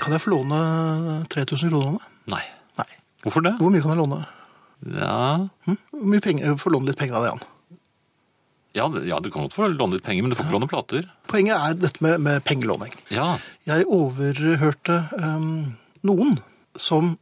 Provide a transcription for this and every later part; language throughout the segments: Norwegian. Kan jeg få låne 3000 kroner av deg? Nei. Nei. Hvorfor det? Hvor mye kan jeg låne? Ja, Hm? Hvor mye penger, jeg får låne litt penger av deg, Jan. ja, det- ja du kan godt få låne litt penger, men du får ikke låne plater. Poenget er dette med, med pengelåning. Ja, Jeg overhørte ehm, noen som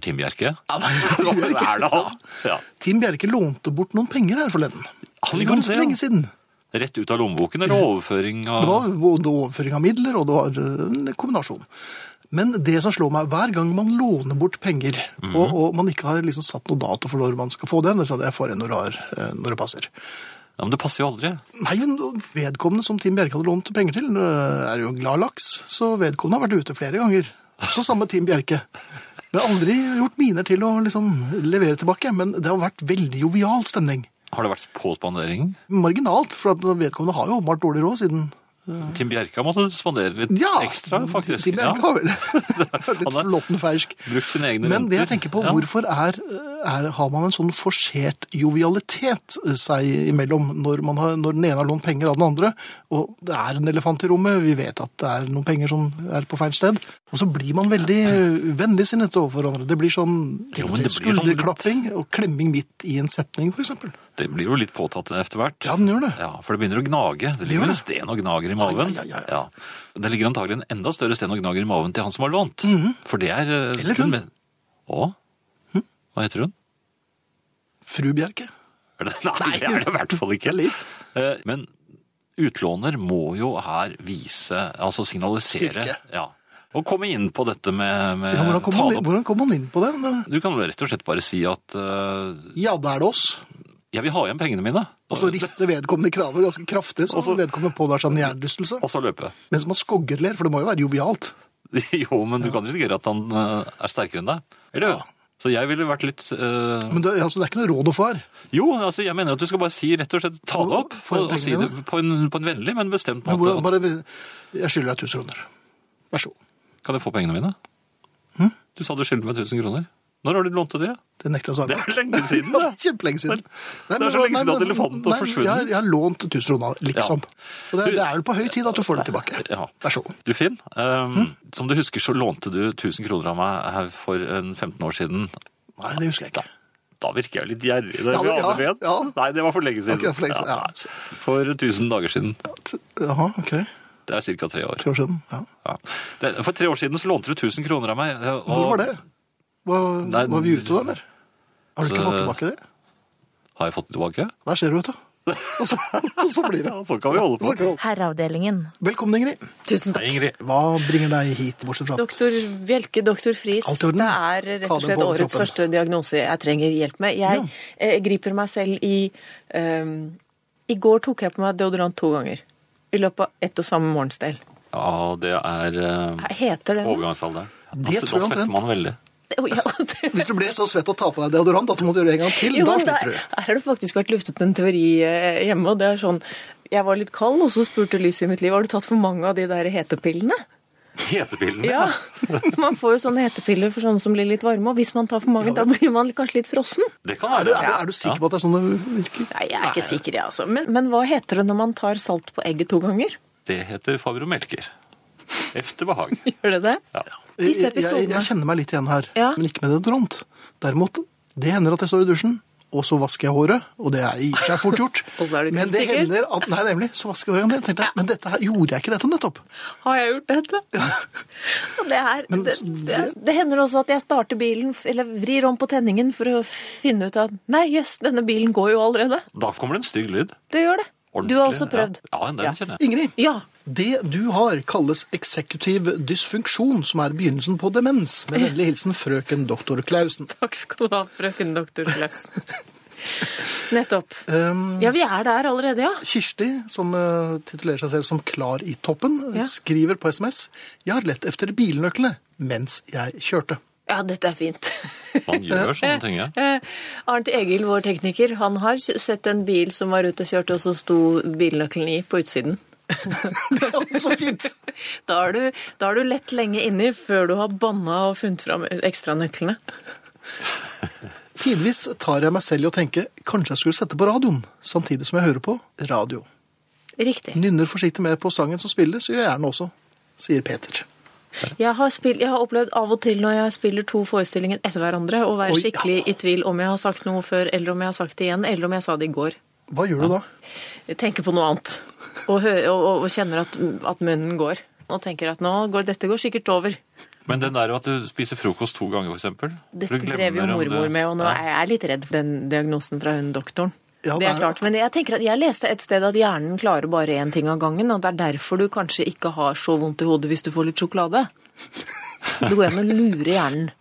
Tim Tim Bjerke. Hva Bjerke. er det han? Ja. Tim Bjerke lånte bort noen penger her forleden. Han gjorde Ganske det, ja. lenge siden. Rett ut av lommeboken eller overføring Det av var både overføring av midler, og det var eh, en kombinasjon. Men det som slår meg, hver gang man låner bort penger, og, Mhm. og man ikke har liksom satt noe dato for når man skal få den, så jeg får en når, det har- eh, når det passer. Ja, men det passer jo aldri. Nei, men vedkommende som Tim Bjerke hadde lånt penger til, eh, er jo en glad laks, så vedkommende har vært ute flere ganger. Også samme Tim Bjerke. Men aldri gjort miner til å liksom levere tilbake, men det har vært veldig jovial stemning. Har det vært på spanderingen? Marginalt, for at vedkommende har jo åpenbart dårlig råd siden Tim Bjerke har måttet spandere litt Ja! ekstra, faktisk. Tim Bjerke Ja. har vel litt Han er- flotten fersk. Brukt sine egne Men det jeg renter. tenker på, Ja. hvorfor er, er, har man en sånn forsert jovialitet eh, seg imellom når, man har, når den ene har lånt penger av den andre, og det er en elefant i rommet, vi vet at det er noen penger som er på feil sted, og så blir man veldig vennligsinnet overfor hverandre. Det blir sånn Jo, men det blir sånn litt- skulderklapping og klemming midt i en setning, for eksempel. Det blir jo litt påtatt etter hvert. Ja, den gjør det. Ja, for det begynner å gnage. Det gjør ligger det. en sten og gnager i maven. Ja, ja, ja, Det ligger antagelig en enda større sten og gnager i maven til han som har lånt. For det er... eh, Mhm. Eller hun. Hm? men- Å? Hva heter hun? Fru Bjerke. Er det, nei, det er det i hvert fall ikke. Litt. Eh, Men utlåner må jo her vise, altså signalisere. Styrke. Ja. Og komme inn på dette med... med Ja, hvordan kom, tale man, opp- inn- hvordan kom man inn på det? Du kan vel rett og slett bare si at eh, Ja, da er det oss. jeg vil ha igjen pengene mine, Og så rister vedkommende kravet ganske kraftig, så vedkommende pådrar seg en jernlystelse. og så løpe. Mens man skoggerler, for det må jo være jovialt. Jo, men du kan risikere at han eh, er sterkere enn deg. Eller jo. Så jeg ville vært litt eh, Men det, altså, det er ikke noe råd å få her. Jo, altså jeg mener at du skal bare si rett og slett ta det opp. Få igjen og, og si pengene, det på en, på en vennlig, men bestemt Men måte. hvordan, at, bare, jeg skylder deg 1000 kroner. Vær så god. Kan jeg få pengene mine? Hm? Du sa du skyldte meg 1000 kroner. Når har du lånt det? Det nekter jeg å Det svare på. er lenge siden, da. Kjempelenge siden. Det er så lenge siden at elefanten har forsvunnet. Jeg, har- jeg har lånt 1000 kroner, liksom. Ja. Og det, Du- det er vel på høy tid at du får det tilbake. Ja. Vær så god. Du Finn, ehm, Hm? som du husker så lånte du 1000 kroner av meg her for en 15 år siden. Nei, det husker jeg ikke. Da virker jeg jo litt gjerrig. Ja, det, ja, ja, ja. Nei, det var for lenge siden. Ok, for lenge siden, ja. nei, for 1000 dager siden. T- Jaha, ok. Det er ca. tre år. Tre år siden. Ja. Ja. Det, for tre år siden så lånte du 1000 kroner av meg. og- Når var det? Var, Nei, var vi ute da, eller? Har du ikke så- fått tilbake det? Har jeg fått det tilbake? Der ser du, vet du. Og så, og så blir det. Ja, sånn kan vi holde på. Så kan- Herreavdelingen. Velkommen, Ingrid. Nei, Tusen takk. Ingrid. Hva bringer deg hit, bortsett fra at Doktor Bjelke, doktor Friis, Alt i orden. det er rett Ta og det slett på årets kroppen. første diagnose jeg trenger hjelp med. Jeg eh, griper meg selv i ehm, I går tok jeg på meg deodorant to ganger. I løpet av ett og samme morgensdel. Ja, det er eh, Heter det overgangsalderen. Altså, Det tror jeg da, da svetter omtrent. man veldig. Å, ja, det- Hvis du ble så svett og ta på deg deodorant at du måtte gjøre det en gang til, Jo, da men slipper du. der, der har det faktisk vært luftet en teori eh, hjemme, og det er sånn Jeg var litt kald, og så spurte Lys i mitt liv har du tatt for mange av de der hetepillene. Hetepillene. Ja, Man får jo sånne hetepiller for sånne som blir litt varme, og hvis man tar for mange, da blir man kanskje litt frossen. Det kan Er du, være det. er, du- er du sikker på at det er sånn det virker? Nei, jeg er ikke sikker, jeg, altså. Men, men hva heter det når man tar salt på egget to ganger? Det heter Faber og Melker. Efter behag. Gjør det det? Ja. Disse Jeg, jeg, jeg episodene. kjenner meg litt igjen her, Ja. men ikke med deodorant. Derimot, det hender at jeg står i dusjen, og så vasker jeg håret, og det er i og for seg fort gjort. Og så er du ikke men det sikker. hender at Nei, nemlig. Så vasker jeg håret igjen. Tenkte jeg, men dette her gjorde jeg ikke dette nettopp. Har jeg gjort dette? Og det, er, Men det, det, det hender også at jeg starter bilen, f- eller vrir om på tenningen for å finne ut at nei, jøss, denne bilen går jo allerede. Da kommer det en stygg lyd. Det gjør det. du har også prøvd. Ja, ja den kjenner jeg. Ingrid, Ja. det du har kalles eksekutiv dysfunksjon, som er begynnelsen på demens. Med vennlig hilsen frøken doktor Klausen. Takk skal du ha, frøken doktor Klausen. Nettopp. Um, Ja, vi er der allerede, ja. Kirsti, som eh, titulerer seg selv som Klar i toppen, eh, Ja. skriver på SMS Jeg har lett efter bilnøklene mens jeg kjørte. Ja, dette er fint. Man gjør sånne ting, ja. Eh, Arnt Egil, vår tekniker, han har sett en bil som var ute og kjørte, og så sto bilnøkkelen i på utsiden. Det er jo så fint! Da har du, da har du lett lenge inni før du har banna og funnet fram ekstranøklene. Tidvis tar jeg meg selv i å tenke kanskje jeg skulle sette på radioen, samtidig som jeg hører på radio. Riktig. Nynner forsiktig med på sangen som spilles, gjør jeg gjerne også, sier Peter. der. Jeg har, spill- jeg har opplevd av og til når jeg spiller to forestillinger etter hverandre, å Oi, være ja. skikkelig i tvil om jeg har sagt noe før, eller om jeg har sagt det igjen, eller om jeg sa det i går. Hva gjør du da? Jeg tenker på noe annet, og, hø og, og kjenner at, at munnen går. Og tenker at nå går, dette går sikkert over. Men den der med at du spiser frokost to ganger, for eksempel. Dette drev jo mormor med, og nå er jeg litt redd for den diagnosen fra hun doktoren. Ja, det det er er- klart, Men jeg tenker at jeg leste et sted at hjernen klarer bare én ting av gangen, og det er derfor du kanskje ikke har så vondt i hodet hvis du får litt sjokolade. Det går an å lure hjernen.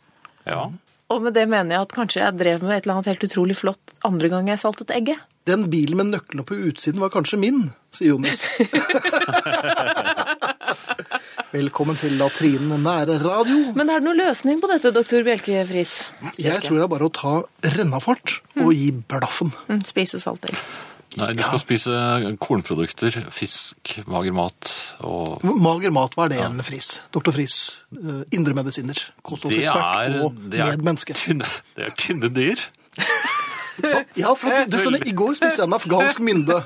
Ja. Og med det mener jeg at kanskje jeg drev med et eller annet helt utrolig flott andre gang jeg saltet egget. Den bilen med nøklene på utsiden var kanskje min, sier Jonis. Velkommen til latrinen nære radio. Men er det noen løsning på dette, doktor Bjelke Friis? Jeg tror det er bare å ta rennafart og gi blaffen. Mm, Spise saltegg. Nei, du skal spise kornprodukter, fisk, mager mat og Mager mat, hva er det igjen, Friis? Doktor Friis, eh, indremedisiner, kostholdsekspert og det er medmenneske. Tynne, det er tynne dyr. Ja, for at, du skjønner, i går spiste jeg en afghansk mynde.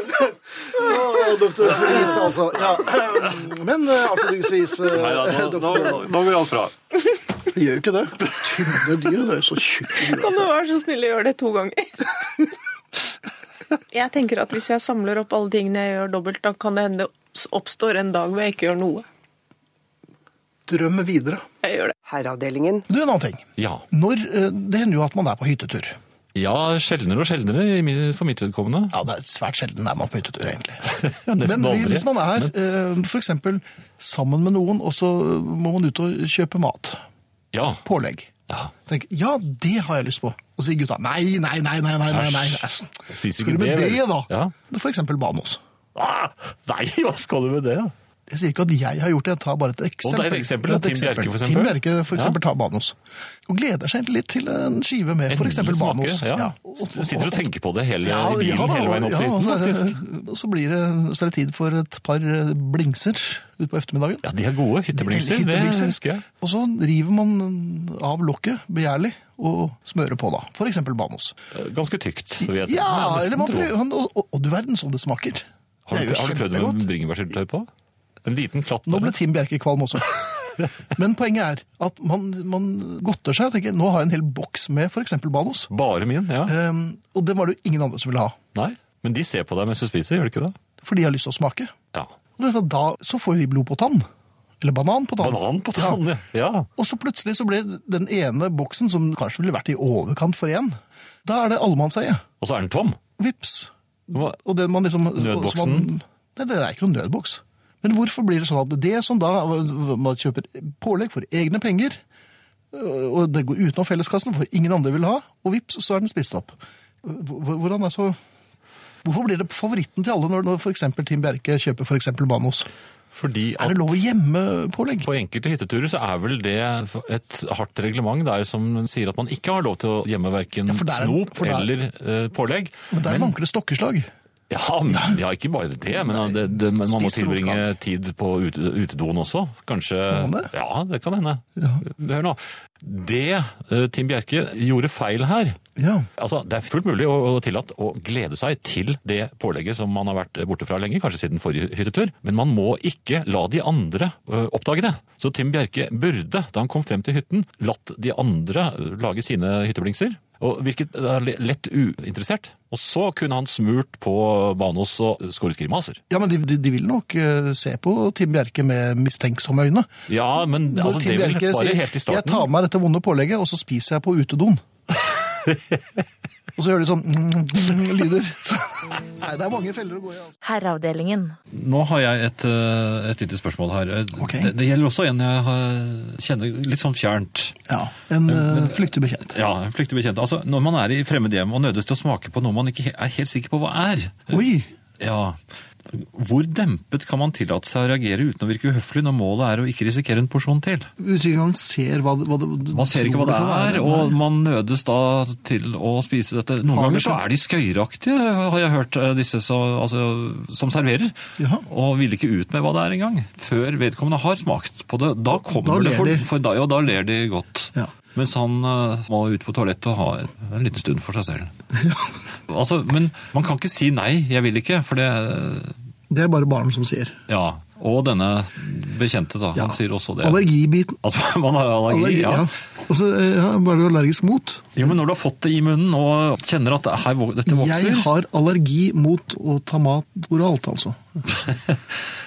Å, doktor Friis, altså. Ja. Men eh, avslutningsvis eh, Nei, da, nå, nå, doktor Bjørnov, nå går alt bra. Det gjør jo ikke det. Tynne dyr, det er jo så tjukke dyr. Kan du være så snill å gjøre det to ganger? Jeg tenker at hvis jeg samler opp alle tingene jeg gjør dobbelt, da kan det hende det oppstår en dag hvor jeg ikke gjør noe. Drøm videre. Jeg gjør det. Herreavdelingen. Du, en annen ting. Ja. Når, eh, det hender jo at man er på hyttetur. ja, sjeldnere og sjeldnere i min- for mitt vedkommende. Ja, det er svært sjelden er man på hyttetur, egentlig. Ja, nesten Men aldri. hvis man er eh, for eksempel sammen med noen, og så må man ut og kjøpe mat, Ja. pålegg. ja. Tenk, ja, det har jeg lyst på. Og så sier gutta, nei, nei, nei, nei, nei, nei, nei. Æsj, jeg spiser Skal ikke du med det, det, da? vel? Ja. For eksempel Banos. Ah, nei, hva skal du med det? da? Jeg sier ikke at jeg har gjort det, jeg tar bare et eksempel. det er et eksempel, Det er Tim Bjerke, for eksempel. Tim Bjerke for Ja. eksempel tar Banos. Og gleder seg egentlig litt til en skive med for Endelig eksempel smake, Banos. Ja. Og- og- Sitter og tenker på det hele, eh, i bilen da, hele veien opp til ja, og hytten, så er det- faktisk. Og så, blir det, så er det tid for et par eh, blingser utpå ettermiddagen. Ja, de er gode. Hytteblingser, det Hytteblikser. husker jeg. Og så river man av lokket begjærlig og smører på, da. For eksempel Banos. Eh, Ganske tykt. så vil jeg si. Ja, nesten eller man tro. prøver, og, og, og du verden som det smaker. Har Det er du, jo har du prøvd med kjempegodt. bringebærsyltetøy på? En liten klatt? Nå ble eller? Tim Bjerke kvalm også. Men poenget er at man, man godter seg og tenker nå har jeg en hel boks med f.eks. Banos. Bare min, ja. Um, og det var det jo ingen andre som ville ha. Nei, men de ser på deg mens du spiser, gjør de ikke det? For de har lyst til å smake. Ja. Og du vet at da så får de blod på tann. Eller banan på tann. Banan på tann, ja. ja. Og så plutselig så blir den ene boksen, som kanskje ville vært i overkant for én, da er det allemannseie. Og så er den tom. Vips. Hva- Og den man liksom... Nødboksen? som Man, nei, det er ikke noen nødboks. Men hvorfor blir det sånn at det som da man kjøper pålegg for egne penger, øh, og det går utenom felleskassen, for ingen andre vil ha, og vips, så er den spist opp. Hvor- Hvordan er så... Hvorfor blir det favoritten til alle når, når for eksempel Tim Bjerke kjøper for eksempel Banos? Fordi Er at det lov å gjemme pålegg? på enkelte hytteturer så er vel det et hardt reglement der som sier at man ikke har lov til å gjemme verken Ja, for der er- snop for der- eller eh, pålegg. Men der Men- manker det stokkeslag. Ja, men, ja, ikke bare det, men det, det, men man må Spiser tilbringe tid på ut- utedoen også. Kanskje Må man det? Ja, det kan hende. Ja. Hør nå. Det eh, Tim Bjerke gjorde feil her Ja. Altså, Det er fullt mulig og, og tillatt å glede seg til det pålegget som man har vært borte fra lenge, kanskje siden forrige hyttetur, men man må ikke la de andre ø, oppdage det. Så Tim Bjerke burde, da han kom frem til hytten, latt de andre ø, lage sine hytteblingser. Og virket ø, lett uinteressert. Og så kunne han smurt på Banos og skåret grimaser. Ja, men de, de, de vil nok eh, se på Tim Bjerke med mistenksomme øyne. Ja, men Når altså, Tim det vil Bjerke bare sier, helt i Jeg tar starten. med meg dette vonde pålegget, og så spiser jeg på utedoen. og så gjør de sånn lyder. Nei, det er mange feller å gå i. Altså. Herreavdelingen. Nå har jeg et, eh, et lite spørsmål her. Eh, Ok. Det, det gjelder også en jeg har- kjenner litt sånn fjernt. Ja, En uh, flyktig bekjent. Ja, flyktig bekjent. Altså, når man er i fremmed hjem og nødes til å smake på noe man ikke he- er helt sikker på hva er. Oi! Ja, Hvor dempet kan man tillate seg å reagere uten å virke uhøflig når målet er å ikke risikere en porsjon til? Utviklingen ser hva, det- hva det Man ser ikke hva det er, og man nødes da til å spise dette. Noen Har ganger det så skjedd? er de skøyeraktige, har jeg hørt, eh, disse som, altså, som serverer. Jaha. Og vil ikke ut med hva det er engang, før vedkommende har smakt på det. Da Da kommer det ler for, de. for deg, og da ler de godt. Ja. Mens han eh, må ut på toalettet og ha en- en liten stund for seg selv. Altså, men man kan ikke si nei, jeg vil ikke, for det Det er bare barn som sier. Ja. Og denne bekjente, da. Ja. Han sier også det. Allergibiten. At man har allergi, Allergi, ja. ja. Og så eh, hva er du allergisk mot? Jo, men når du har fått det i munnen og kjenner at det her, vok- dette vokser Jeg har allergi mot å ta mat oralt, altså.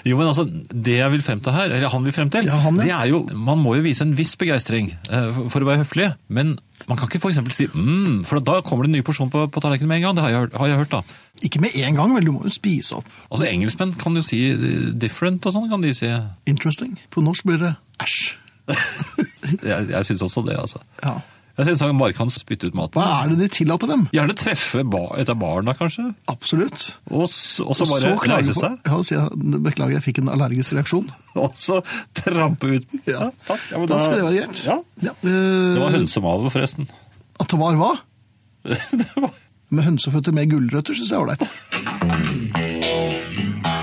Jo, men altså, Det jeg vil frem til her, eller han vil frem til, Ja, han, ja. det er jo Man må jo vise en viss begeistring eh, for- for å være høflig, men man kan ikke f.eks. si mm, for da kommer det en ny porsjon på, på tallerkenen med en gang. Det har jeg, hørt- har jeg hørt, da. Ikke med en gang, vel, du må jo spise opp. Altså, Engelskmenn kan jo si eh, 'different' og sånn, kan de si. Jeg, Interesting. På norsk blir det æsj. jeg syns også det, altså. Ja. Jeg syns han bare kan spytte ut Hva maten. er det de tillater dem? Gjerne treffe ba, et av barna, kanskje, Absolutt. og, s- og så Og bare klager reise de på- seg. Ja, og si, Beklager, jeg fikk en allergisk reaksjon. Og så trampe ut. Ja. takk. Ja, Da, men skal det være greit. Ja. Ja, eh, Det var hønsemaver, forresten. At det var hva? det var, Med hønseføtter med gulrøtter syns jeg er ålreit.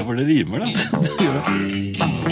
for det rimer, det. Gjør det.